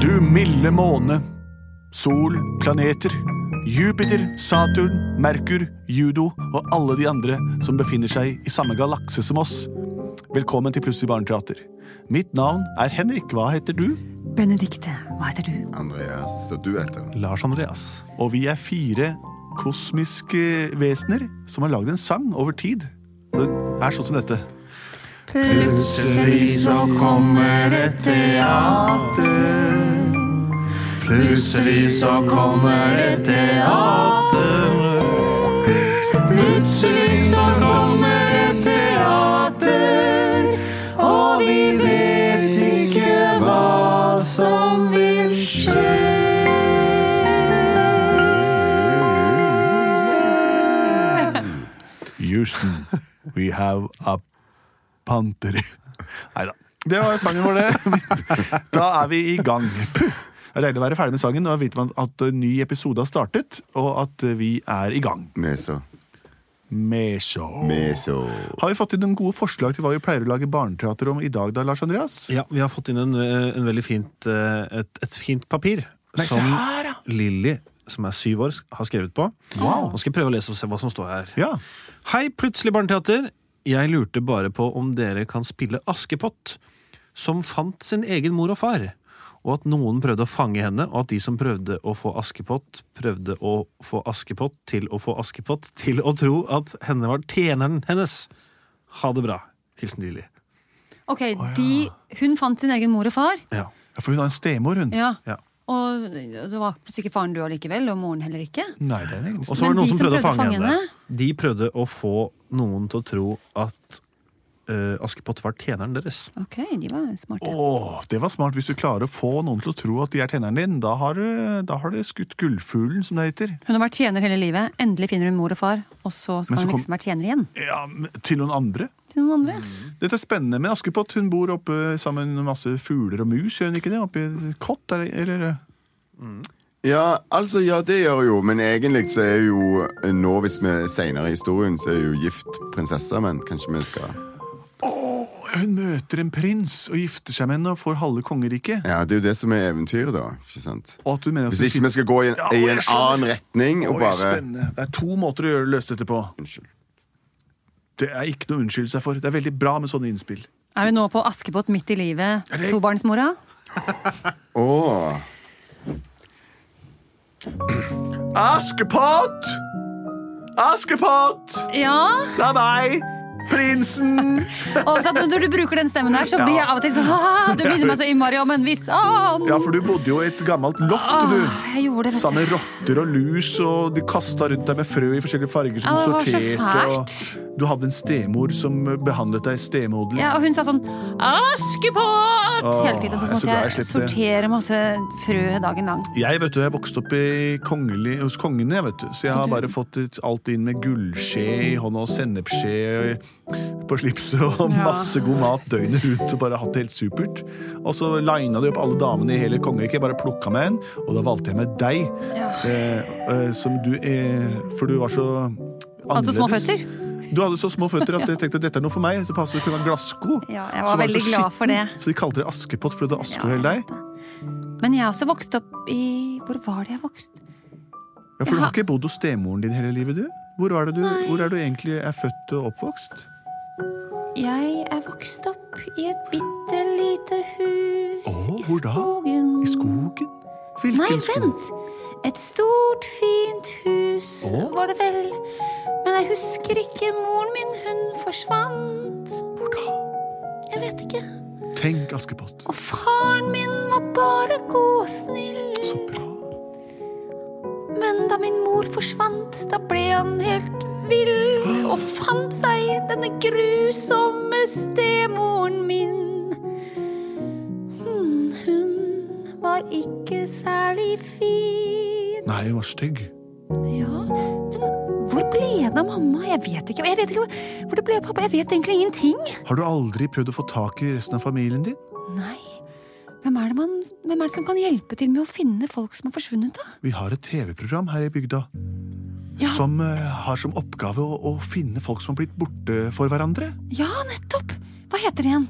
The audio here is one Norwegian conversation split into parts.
Du milde måne. Sol, planeter, Jupiter, Saturn, Merkur, Judo og alle de andre som befinner seg i samme galakse som oss. Velkommen til Plutselig barneteater. Mitt navn er Henrik. Hva heter du? Benedikte, hva heter du? Andreas, så du heter Lars Andreas. Og vi er fire kosmiske vesener som har lagd en sang over tid. Og den er sånn som dette. Plutselig så kommer et teater. Plutselig så kommer et teater. Plutselig så kommer et teater. Og vi vet ikke hva som vil skje. Houston, we have a panther. Nei da. Det var sangen vår, det. Da er vi i gang. Det er deilig å være ferdig med sangen. Nå vet man at en ny episode har startet, og at vi er i gang. Meso. Meso. Meso. Har vi fått inn noen gode forslag til hva vi pleier å lage barneteater om i dag, da, Lars Andreas? Ja, vi har fått inn en, eh, en veldig fint, eh, et, et fint papir Nei, se som her, ja. Lilly, som er syv år, har skrevet på. Wow. Nå skal jeg prøve å lese og se hva som står her. Ja. Hei, plutselig barneteater. Jeg lurte bare på om dere kan spille Askepott, som fant sin egen mor og far. Og at noen prøvde å fange henne, og at de som prøvde å få Askepott, prøvde å få Askepott til å få Askepott til å tro at henne var tjeneren hennes. Ha det bra. Hilsen Lilly. Ok, de, Hun fant sin egen mor og far. Ja. Ja, For hun har en stemor, hun. Ja. Ja. Og det var plutselig ikke faren du allikevel, og moren heller ikke. Nei, det er en egen Og så var det Men noen de som prøvde å fange henne. henne? De prøvde å få noen til å tro at eh, Askepott var tjeneren deres. Ok, de var smarte. Åh, det var smart. Hvis du klarer å få noen til å tro at de er tenneren din, da har du, da har du skutt gullfuglen, som det heter. Hun har vært tjener hele livet. Endelig finner hun mor og far, og så Men skal så hun kom- liksom være tjener igjen. Ja, men til noen andre. Til noen andre. Dette er spennende med Askepott. Hun bor oppe sammen med masse fugler og mus, gjør hun ikke det? Oppe i et kott, eller? eller? Ja, altså, ja, det gjør jo, men egentlig så er jo nå, hvis vi er senere i historien, så er jo gift prinsesse, men kanskje vi skal Åh, hun møter en prins og gifter seg med henne og får halve kongeriket. Ja, det er jo det som er eventyret, da. Ikke sant? Og at hun mener at Hvis ikke vi skal gå i en, Ja, i jeg en skjønner. annen retning og Oi, bare spennende. Det er to måter å gjøre løse dette på. Unnskyld. Det er ikke noe å unnskylde seg for. Det er veldig bra med sånne innspill. Er vi nå på Askepott midt i livet, det- tobarnsmora? Åh, Askepott! Askepott! Ja! Det er meg, prinsen! Og så at når du bruker den stemmen der, så blir jeg av og til sånn «Ah, Du minner meg så innmari om en viss annen. Ja, for du bodde jo i et gammelt loft, du. Jeg gjorde det, vet du. Sammen med rotter og lus, og de kasta rundt deg med frø i forskjellige farger som Ja, du det var så sorterte. Og du hadde en stemor som behandlet deg stemoderlig. Ja, og hun sa sånn 'Askepott!' Åh, Hele tiden. jeg er og Så så måtte glad jeg, jeg slapp det. sortere masse frø dagen lang. Jeg vet du, jeg vokste opp i kongelig, hos kongene, jeg, vet du. så jeg har bare fått ut alt inn med gullskje i hånda og sennepsskje på slipset og Ja. masse god mat døgnet rundt og bare hatt det helt supert. Og så lina de opp alle damene i hele kongeriket. Jeg bare plukka med en, og da valgte jeg med deg. Eh, eh, som du eh, For du var så annerledes. Altså små føtter? Du hadde så små føtter at jeg tenkte at dette er noe for meg. Du passet til å kunne ha glassko. Ja, jeg Så var du veldig så glad for det. skitten, Så de kalte deg Askepott fordi du hadde aske Ja, over hele deg. Men jeg har også vokst opp i Hvor var det jeg vokste? Ja, For du har ikke bodd hos stemoren din hele livet, du? Hvor er, det du, hvor er du egentlig er født og oppvokst? Jeg er vokst opp i et bitte lite hus Åh, i hvor da? skogen. I skogen? Hvilken Nei, skog? vent! Et stort, fint hus Åh. var det vel. Men jeg husker ikke moren min, hun forsvant. Hvor da? Jeg vet ikke. Tenk, Askepott. Og faren min var bare god og snill. Så bra. Men da min mor forsvant, da ble han helt vill og fant seg denne grusomme stemoren min. Hmm, ikke særlig fin. Nei, hun var stygg. Ja, men hvor ble det av mamma? Jeg vet ikke. Og jeg vet ikke hvor- hvor det ble av pappa. Jeg vet egentlig ingenting. Har du aldri prøvd å få tak i resten av familien din? Nei. Hvem er, det man, hvem er det som kan hjelpe til med å finne folk som har forsvunnet, da? Vi har et TV-program her i bygda Ja. som eh, har som oppgave å, å finne folk som har blitt borte for hverandre. Ja, nettopp! Hva heter det igjen?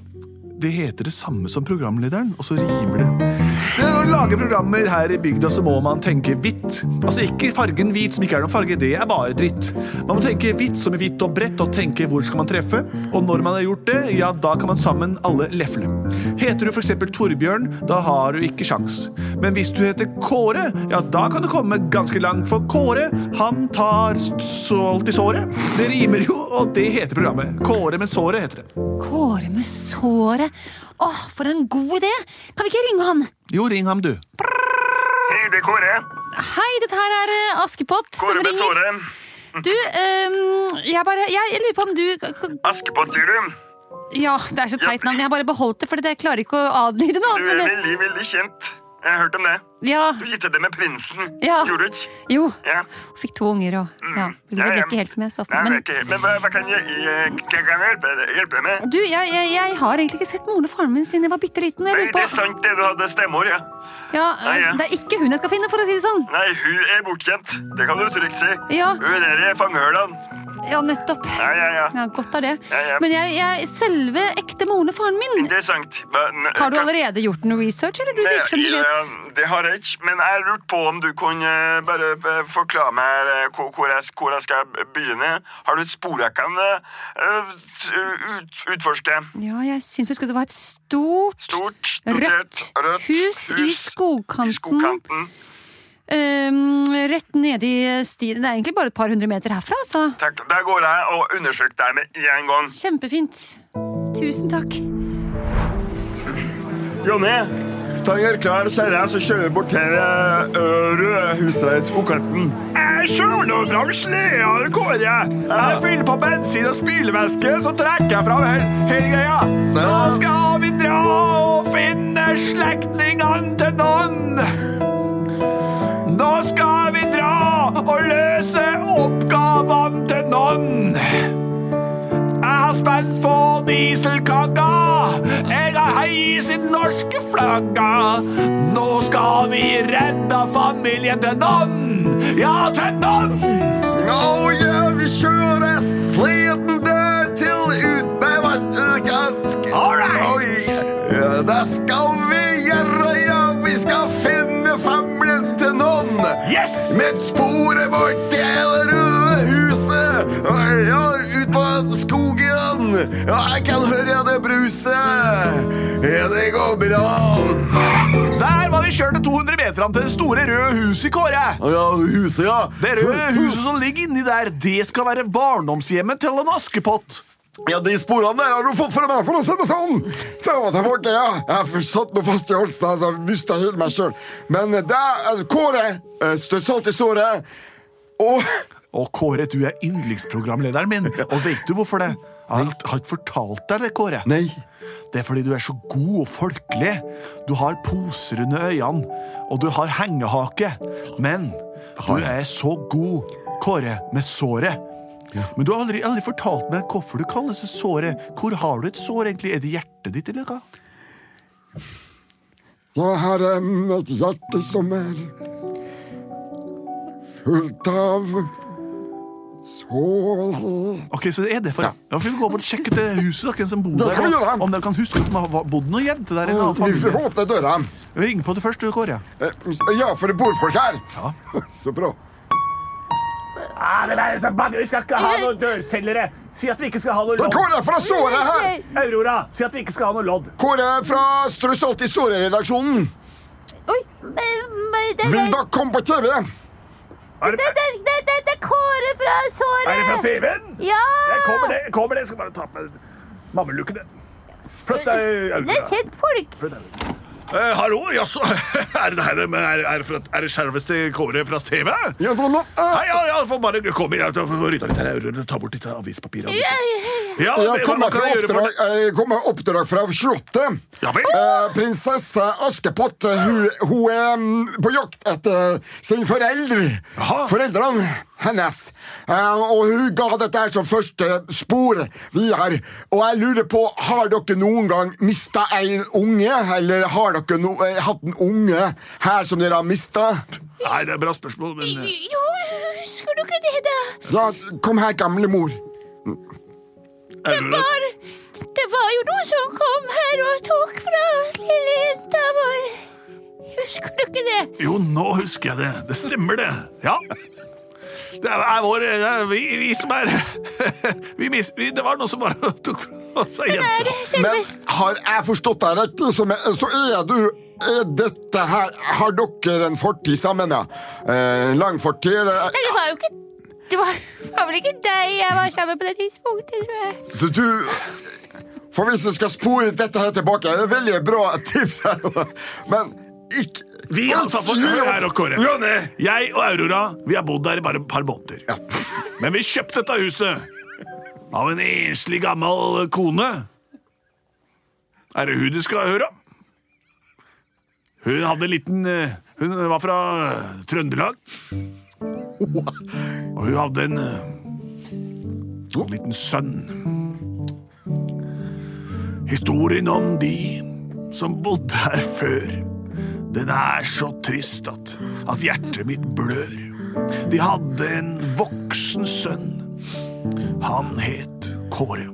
Det heter det samme som programlederen, og så rimer det. Når du lager programmer her i bygda, så må man tenke hvitt. Altså ikke fargen hvit, som ikke er noen farge, det er bare dritt. Man må tenke hvitt som i hvitt og bredt, og tenke hvor skal man treffe. Og når man har gjort det, ja, da kan man sammen alle lefle. Heter du f.eks. Torbjørn, da har du ikke sjans. Men hvis du heter Kåre, ja, da kan du komme ganske langt, for Kåre, han tar s- salt i såret. Det rimer jo, og det heter programmet. Kåre med såret heter det. Kåre med såret. Åh, for en god idé! Kan vi ikke ringe han? Jo, ring ham, du. Hei, det er Kåre. Hei, dette her er eh, Askepott Kåre som med ringer. såret. Du, ehm, jeg bare Jeg lurer på om du k- Askepott, sier du. Ja, det er så teit navn. Jeg har bare beholdt det, for jeg klarer ikke å adlyde noe Du er annet. veldig, veldig kjent. Jeg har hørt om men det. det- Ja. Du giftet deg med prinsen. Ja. Gjorde du ikke? Jo. Ja. Mm. Fikk to unger og ja. Det Ja, ble ja. ikke helt som jeg så Nei, for meg. men- men, men hva, hva kan jeg, jeg, jeg kan hjelpe, deg- hjelpe deg med? Du, jeg, jeg, jeg har egentlig ikke sett moren og faren min siden jeg var bitte liten. Jeg Nei, lurer det på er sant det du hadde stemor, ja. ja, Nei, ja. Det er ikke hun jeg skal finne, for å si det sånn. Nei, hun er bortgjemt. Det kan du trygt si. Ja. Hun er der i fangehølen. Ja, nettopp. Ja, ja, ja. Ja, Godt er det. Ja, ja. Men jeg, jeg selve ekte moren og faren min Det er sant. Men- Har du allerede gjort noe research, eller du virker som du vet? Ja, det har jeg ikke, men jeg lurte på om du kunne eh, bare eh, forklare meg eh, hvor, hvor, jeg, hvor jeg skal begynne. Har du et spor jeg kan eh, ut, ut, utforske? Ja, jeg syns jeg husker det var et stort Stort, Rødt, notert, rødt hus, i skogkanten, i skogkanten. øhm, rett nede i stien. Det er egentlig bare et par hundre meter herfra, altså. Takk. Da går jeg og undersøker deg med en gang. Kjempefint. Tusen takk. Jonny, Ta gjør klar, kjære, så kjører vi bort til det røde huset i skogkanten. jeg skjuler fram sleda, Kåre. Jeg fyller på bensin og spylevæske, så trekker jeg fram hele greia. Nå skal vi dra og finne slektningene til noen. Nå skal vi dra og løse oppgavene til noen. Jeg har spent på dieselkaka, jeg har heiset norske flagga. Nå skal vi redde familien til noen. Ja, til noen! Nå ja, vi kjører sleden der til utbevarskansk. All right. Ja, da skal vi gjøre, ja, vi skal finne famlen til noen. Yes! Men sporet vårt det er det røde huset. Ja, ut på skogen. Ja, jeg kan høre det bruset. Ja, det går bra. Der var vi kjørt 200 meter til det store røde huset i Kåre. Ja, huset, ja. Det røde huset som ligger inni der, det skal være barndomshjemmet til en Askepott. Ja, de sporene der har du fått fra meg, for å si det sånn! Det var det borte, ja. Jeg f- satt nå fast i halsen, altså, jeg mista hele meg sjøl. Men det er altså, Kåre eh, støtt salt i såret. Og Og Kåre, du er yndlingsprogramlederen min, og vet du hvorfor det? Jeg har- har ikke fortalt deg det, Kåre. Nei. Det er fordi du er så god og folkelig. Du har poser under øynene, og du har hengehake. Men du er så god, Kåre, med såret. Men du har aldri, aldri fortalt meg hvorfor du kalles såret. Hvor har du et sår, egentlig? Er det hjertet ditt, eller hva? Jeg har em, et hjerte som er fullt av sår. Ok, så det er det for ja. Da får vi gå bort og sjekke til huset, da, hvem som bor Det der, kan vi gjøre. og om de kan huske at de har bodd noen jenter der. Eller Vi får annen åpne døra. Ring på det først, du, Kåre. Eh, Ja, for det bor folk her. Ja. Så bra. Ja, Ah, det der er så bange. Vi skal ikke ha noen dørselgere. Si at vi ikke skal ha noe Det er lodd. Kåre fra såret her! Aurora, si at vi ikke skal ha noe lodd. Kåre fra Strø salt i såret-redaksjonen. Oi, men- men det, Vil det, dere komme på TV? Er det, det, det, det, det er Kåre fra såret! er det fra TV-en? Ja! Jeg kommer det, Eh, jeg kommer det. Jeg skal bare ta på meg mammelukkene. Flytt deg, Det er Aurora. kjentfolk. Eh, hallo, jaså? Er det her men er, er, fra- er det selveste Kåre fra TV? Ja, da, nå, Nei, eh, ja, ja, får bare kom inn. Jeg får rydde litt her. jeg Ta bort litt avispapir. og- Ja, ja, ja. Ja, jeg det- hva, hva kommer kan fra jeg gjøre for oppdrag, jeg kommer med oppdrag fra Slottet. Ja vel. Eh, prinsesse Askepott eh, hun, hun er mm, på jakt etter sin forelder. Jaha. Foreldrene hennes. Eh, og hun ga dette her som første spor videre. Og jeg lurer på, har dere noen gang mista en unge? Eller har dere no, eh, hatt en unge her som dere har mista? Nei, det er bra spørsmål, men eh, Jo, husker du ikke det, da? Ja, kom her, gamle mor. er Det du var, det var jo noen som kom her og tok fra oss lille jenta vår. Husker du ikke det? Jo, nå husker jeg det. Det stemmer, det. Ja. Det er, er vår det er vi, vi som er vi, mis- vi, Det var noen som bare tok fra oss ei Er jente. det Men selvest? har jeg forstått deg rett, som er- så er du er dette her Har dere en fortid sammen, ja? Eh, en lang fortid? eller? Nei, det var jo ikke det var, det var vel ikke deg jeg var sammen med på det tidspunktet, tror jeg. Så du For hvis du skal spore dette her tilbake Det er veldig bra tips her, men ikke Altså, Vi har tatt på Gi hør opp. her, og Kåre. Jeg og Aurora vi har bodd der i bare et par måneder. Men vi kjøpte dette huset av en enslig gammel kone. Er det hun du skal høre om? Hun hadde en liten eh, Hun var fra eh, Trøndelag. Og hun hadde en eh, liten sønn. Historien om de som bodde her før, den er så trist at, at hjertet mitt blør. De hadde en voksen sønn. Han het Kåre.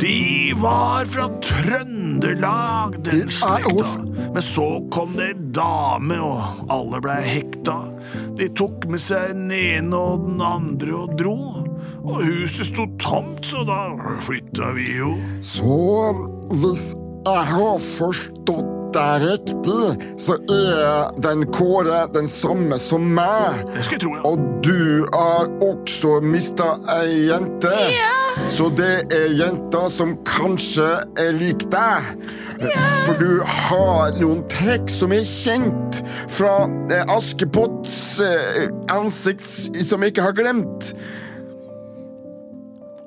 De var fra Trøndelag, den slekta. Men så kom det en dame, og alle blei hekta. De tok med seg den ene og den andre og dro. Og huset sto tomt, så da flytta vi jo. Så hvis jeg har forstått deg riktig, så er den Kåre den samme som meg. Det skulle jeg tro. ja. Og du har også mista ei jente. Så det er jenta som kanskje er lik deg. For du har noen trekk som er kjent fra eh, Askepotts eh, ansikt som jeg ikke har glemt.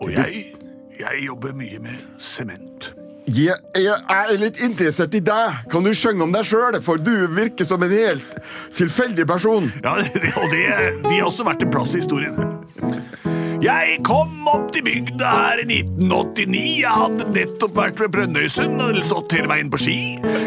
Og jeg, jeg jobber mye med sement. Jeg, jeg er litt interessert i deg. Kan du synge om deg sjøl? For du virker som en helt tilfeldig person. Ja, det- og det, de har også vært en plass i historien. Jeg kom opp til bygda her i 1989. Jeg hadde nettopp vært ved Brønnøysund og stått hele veien på ski.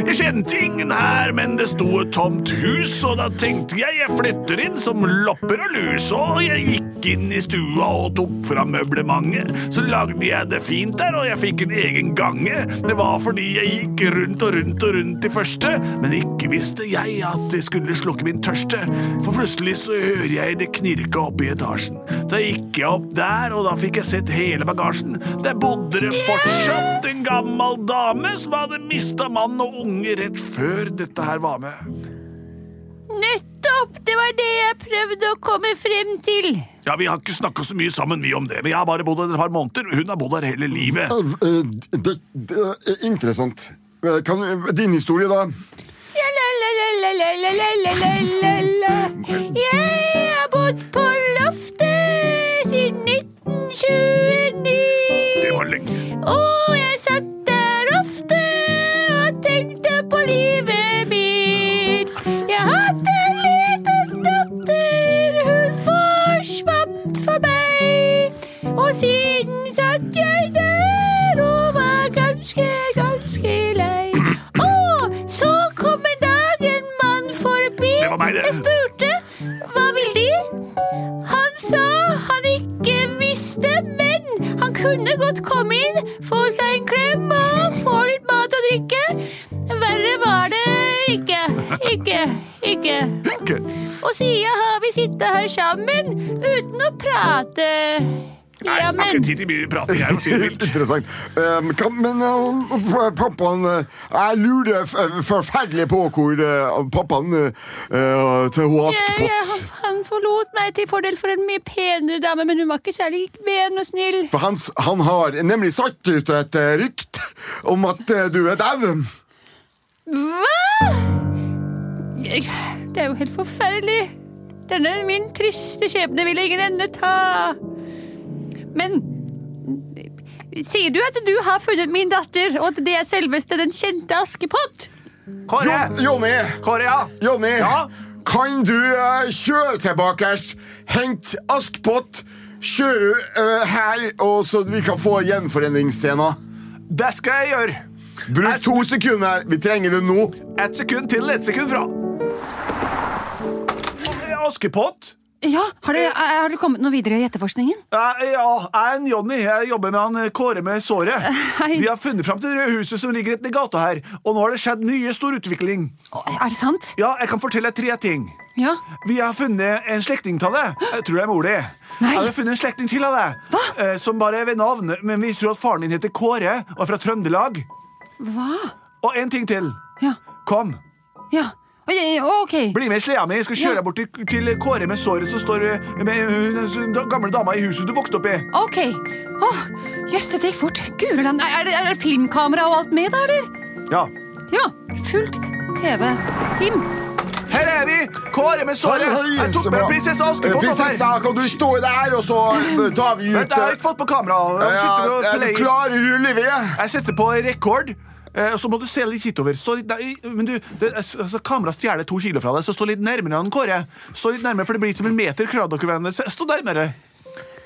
Jeg kjente ingen her, men det sto et tomt hus, og da tenkte jeg jeg flytter inn som lopper og lus. Og jeg gikk inn i stua og tok fram møblementet. Så lagde jeg det fint der, og jeg fikk en egen gange. Det var fordi jeg gikk rundt og rundt og rundt i første, men ikke visste jeg at det skulle slukke min tørste. For plutselig så hører jeg det knirke oppe i etasjen. Da gikk jeg opp der, og da fikk jeg sett hele bagasjen. Der bodde det fortsatt en gammel dame som hadde mista mann og unge rett før dette her var med. Nettopp! Det var det jeg prøvde å komme frem til. Ja, Vi har ikke snakka så mye sammen, vi om det, men jeg har bare bodd her et par måneder. Hun har bodd her hele livet. Eh, eh, Det, det er interessant. Eh, Kan, din historie, da? La-la-la-la-la-la-la-la-la-la. Jeg har bodd på loftet siden 1929. Det var lenge. Og jeg satt der ofte og tenkte på livet mitt. Jeg hadde en liten datter, hun forsvant for meg. Og siden satt jeg der og var ganske, ganske lei. Og så kom en dag en mann forbi. Det var meg, det. Jeg spurte hva vil de? Han sa han ikke visste, men han kunne godt komme inn, få seg en klem og få litt mat og drikke. Verre var det ikke. Ikke. Ikke. Ikke. Og siden har vi sittet her sammen uten å prate. Nei, jeg har Jammen. ikke tid til mye prating. Jeg må si det vilt. Interessant. Um, kan, men um, p- pappaen eh, Jeg lurer f eh, forferdelig på hvor eh, pappaen eh, eh, til hun Jeg- jeg- Askepott Han forlot meg til fordel for en mye penere dame, men hun var ikke særlig ven og snill. For hans, han har nemlig satt ut et eh, rykt om at eh, du er dau. Hva? Jeg- Det er jo helt forferdelig. Denne min triste skjebne vil ingen ende ta. Men sier du at du har funnet min datter, og at det er selveste den kjente Askepott? Jo, Kåre! Jonny, Kåre, ja. Jonny, Ja? kan du eh, kjøre tilbake? Hent Askepott. Kjører du eh, her, og så vi kan få gjenforeningsscenen. Det skal jeg gjøre. Bruk to sekunder. Vi trenger det nå. Ett sekund til, ett sekund fra. Askepott? Ja, har, det, har du kommet noe videre i etterforskningen? Eh, Ja, jeg er en Jonny. Jeg jobber med han eh, Kåre med såret. Hei. Vi har funnet fram til det røde huset som ligger rett ned i gata her, og nå har det skjedd mye stor utvikling. Er det sant? Ja, jeg kan fortelle deg tre ting. Ja. Vi har funnet en slektning av deg. Jeg tror det er mor di. Nei. Ja, Vi har funnet en slektning til av deg, Hva? eh, som bare er ved navn, men vi tror at faren din heter Kåre og er fra Trøndelag. Hva? Og en ting til. Ja. Kom, Ja. Oi, oi, Ok. bli med i sleda mi. Jeg skal kjøre Ja. deg bort til, til Kåre med såret som står eh, med hun hun- den gamle dama i huset du vokste opp i. Ok. Åh, Jøss, dette gikk fort. Gureland, er, er det- er det filmkamera og alt med da, eller? Ja. Ja. Fullt TV-team. Her er vi! Kåre med såret. Jeg tok med prinsesse Askepott opp her. Prinsessa, kan du stå der, og så eh, tar vi Vent, ut jeg har eh, ikke fått på kamera. Jeg, sitter og ja, Er player. du klar, ruller vi? jeg setter på rekord. eh, Og så må du se litt hitover. Stå litt der, men du, det, altså, Kameraet stjeler to kilo fra deg, så stå litt nærmere han, Kåre. Stå litt nærmere, for det blir som en meter. Klarer dere hverandre? Se- Stå nærmere.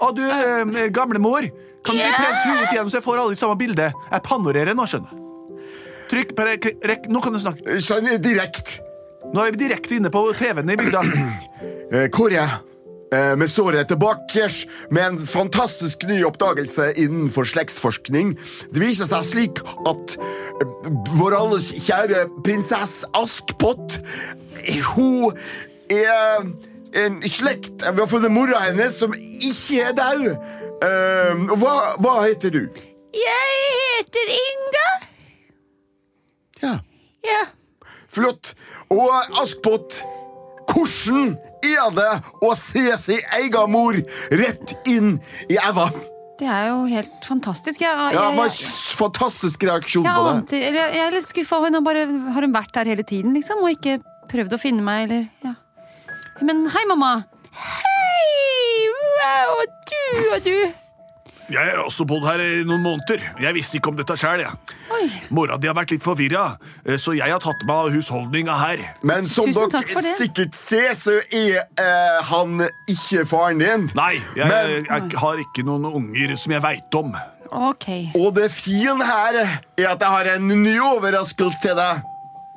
Og du, eh, gamlemor, kan du presse huet igjennom så jeg får alle i samme bilde? Jeg panorerer nå, skjønner du. Trykk på rek... rek- Nå kan du snakke. Sånn direkte. Nå er vi direkte inne på TV-en i bygda. Eh, Kåre, eh, med såret tilbake med en fantastisk ny oppdagelse innenfor slektsforskning. Det viser seg slik at eh, vår alles kjære prinsesse Askpott, eh, hun er en slekt eh, Vi har funnet mora hennes, som ikke er død. Eh, hva, hva heter du? Jeg heter Inga. Ja. Ja. Flott. Og eh, Askpott, hvordan er det å se sin egen mor rett inn i æva? Det er jo helt fantastisk. Jeg, jeg, Ja, det var jeg, jeg, en fantastastisk reaksjon på det. ante eller Jeg jeg er litt skuffa. Hun har, bare, har hun vært her hele tiden, liksom? Og ikke prøvd å finne meg, eller ja. Men hei, mamma. Hei, wow, og du og du. Jeg har også bodd her i noen måneder. Jeg visste ikke om dette sjøl. Oi. Mora di har vært litt forvirra, eh, så jeg har tatt meg av husholdninga her. Men som Tusen takk for dere det. sikkert ser, så er eh, han ikke faren din. Nei, jeg, Men- jeg har ikke noen unger som jeg veit om. Ok. Og det fine her er at jeg har en ny overraskelse til deg.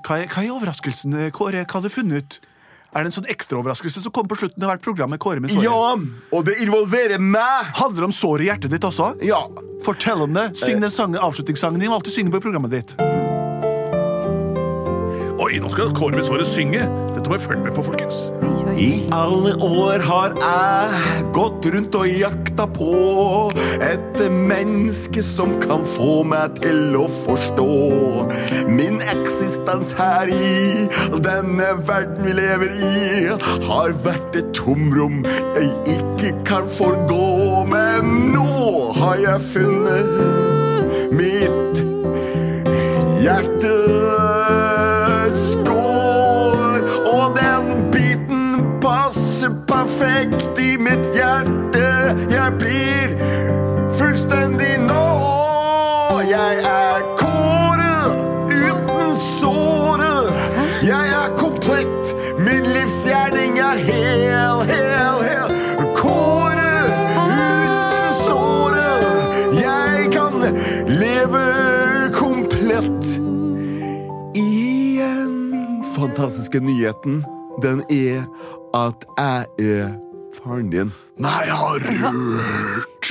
Hva er, hva er overraskelsen, eh, Kåre? Hva har du funnet ut? Er det en sånn ekstraoverraskelse som kommer på slutten av hvert program? med Kåre med såret? Ja, og det involverer meg. Handler det om såret i hjertet ditt også? Ja. Fortell om det. Syng den sangen, avslutningssangen din. Alltid synge på programmet ditt. Oi, nå skal Kåre med såret synge. Dette må jeg følge med på, folkens. Oi, oi. I alle år har jeg gått rundt og jakta på et menneske som kan få meg til å forstå min eksistens her i denne verden vi lever i, har vært et tomrom jeg ikke kan forgå. Men nå har jeg funnet mitt Hjerteskår Og den biten passer perfekt i mitt hjerte Jeg blir fullstendig nå Jeg er kåret uten såre Jeg er komplett Min livsgjerning er hel, hel, hel Kåret uten såre Jeg kan leve komplett igjen. Fantastiske nyheten, den er at jeg er faren din. Nei, harru.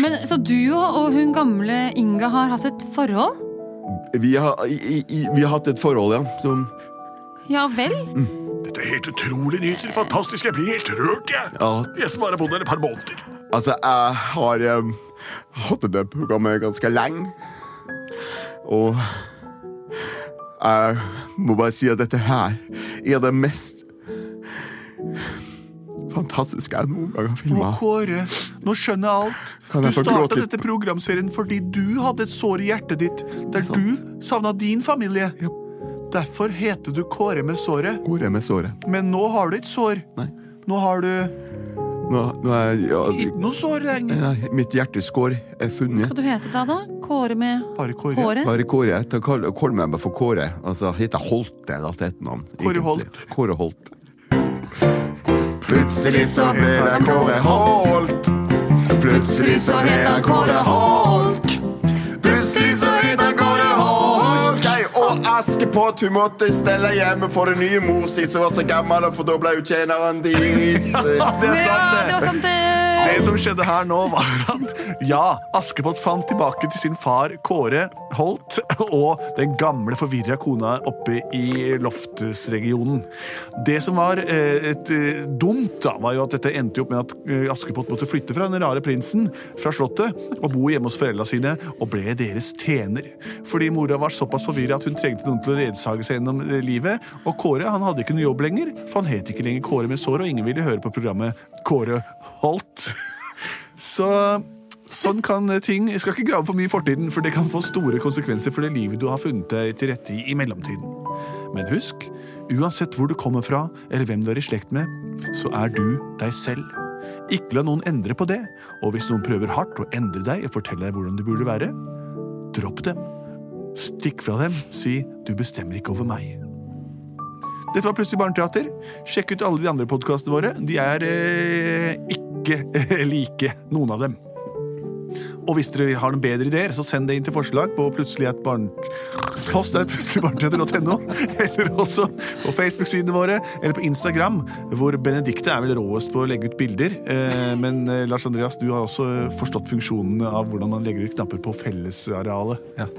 Men Så du og og hun gamle Inga har hatt et forhold? Vi har, i, i, vi har hatt et forhold, ja. Som, Ja vel? Dette er helt utrolig nyheter. Fantastisk. Jeg blir helt rørt, jeg. ja. Jeg som bare har bodd her et par måneder. Altså, jeg har em, hatt det programmet ganske lenge. Og jeg må bare si at dette her er det mest fantastisk jeg noen gang har filma. Å, Kåre, nå skjønner jeg alt. Kan jeg du få gråte starta litt? dette programserien fordi du hadde et sår i hjertet ditt, der Sant. du savna din familie. Ja. Derfor heter du Kåre med såret, Hvor er med såret? men nå har du ikke sår. Nei. Nå har du Nå, nå er ja, ikke noe sår lenger. eh, Mitt hjerteskår er funnet. Skal du hete da, da? Kåre med Bare Kåre. håret? Bare Kåre. Jeg tar- kall kall meg bare for Kåre. Altså, heter jeg Holte, da, til et navn. Kåre egentlig. Holt. Kåre Holt. Plutselig så ble det Kåre Holt. Plutselig så het han Kåre Holt. Plutselig så het han Kåre Holt. Jeg og Askepott, hun måtte stelle hjemme for den nye mor si som var så gammel, for da ble hun tjeneren deres. Det er sant, Ja, det var sant, eh. det! Det som skjedde her nå, var at ja, Askepott fant tilbake til sin far Kåre Holt og den gamle, forvirra kona oppe i Loftes-regionen. Det som var eh, et, eh, dumt, da, var jo at dette endte jo opp med at eh, Askepott måtte flytte fra den rare prinsen fra Slottet og bo hjemme hos foreldra sine og ble deres tjener. Fordi mora var såpass forvirra at hun trengte noen til å ledsage seg gjennom eh, livet. Og Kåre han hadde ikke noe jobb lenger, for han het ikke lenger Kåre med sår, og ingen ville høre på programmet Kåre Holt. Så sånn kan ting Jeg skal ikke grave for mye i fortiden, for det kan få store konsekvenser for det livet du har funnet deg til rette i i mellomtiden. Men husk, uansett hvor du kommer fra, eller hvem du er i slekt med, så er du deg selv. Ikke la noen endre på det, og hvis noen prøver hardt å endre deg og fortelle deg hvordan du burde være, dropp dem. Stikk fra dem, si 'du bestemmer ikke over meg'. Dette var Plutselig barneteater. Sjekk ut alle de andre podkastene våre. De er eh, ikke eh, like, noen av dem. Og hvis dere har noen bedre ideer, så send det inn til forslag på plutselig et barn... Post er plutseligbarneteater.no, eller også på Facebook-sidene våre, eller på Instagram, hvor Benedikte er vel råest på å legge ut bilder. Eh, Men eh, Lars Andreas, du har også forstått funksjonen av hvordan man legger ut knapper på fellesarealet. Ja.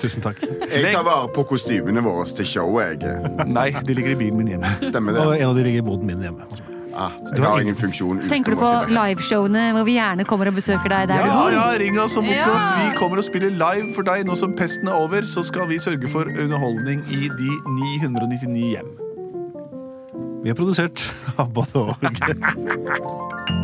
Tusen takk. Jeg tar vare på kostymene våre til showet, jeg. Nei, de ligger i bilen min hjemme. Stemmer Og det? en av de ligger i boden min hjemme. Ah, jeg har ingen funksjon. utenom Tenker du å på sitte her. liveshowene hvor vi gjerne kommer og besøker deg Ja, der du bor? ja, ring oss og book Ja. oss. Vi kommer og spiller live for deg nå som pesten er over. Så skal vi sørge for underholdning i de 999 hjem. Vi er produsert av både og.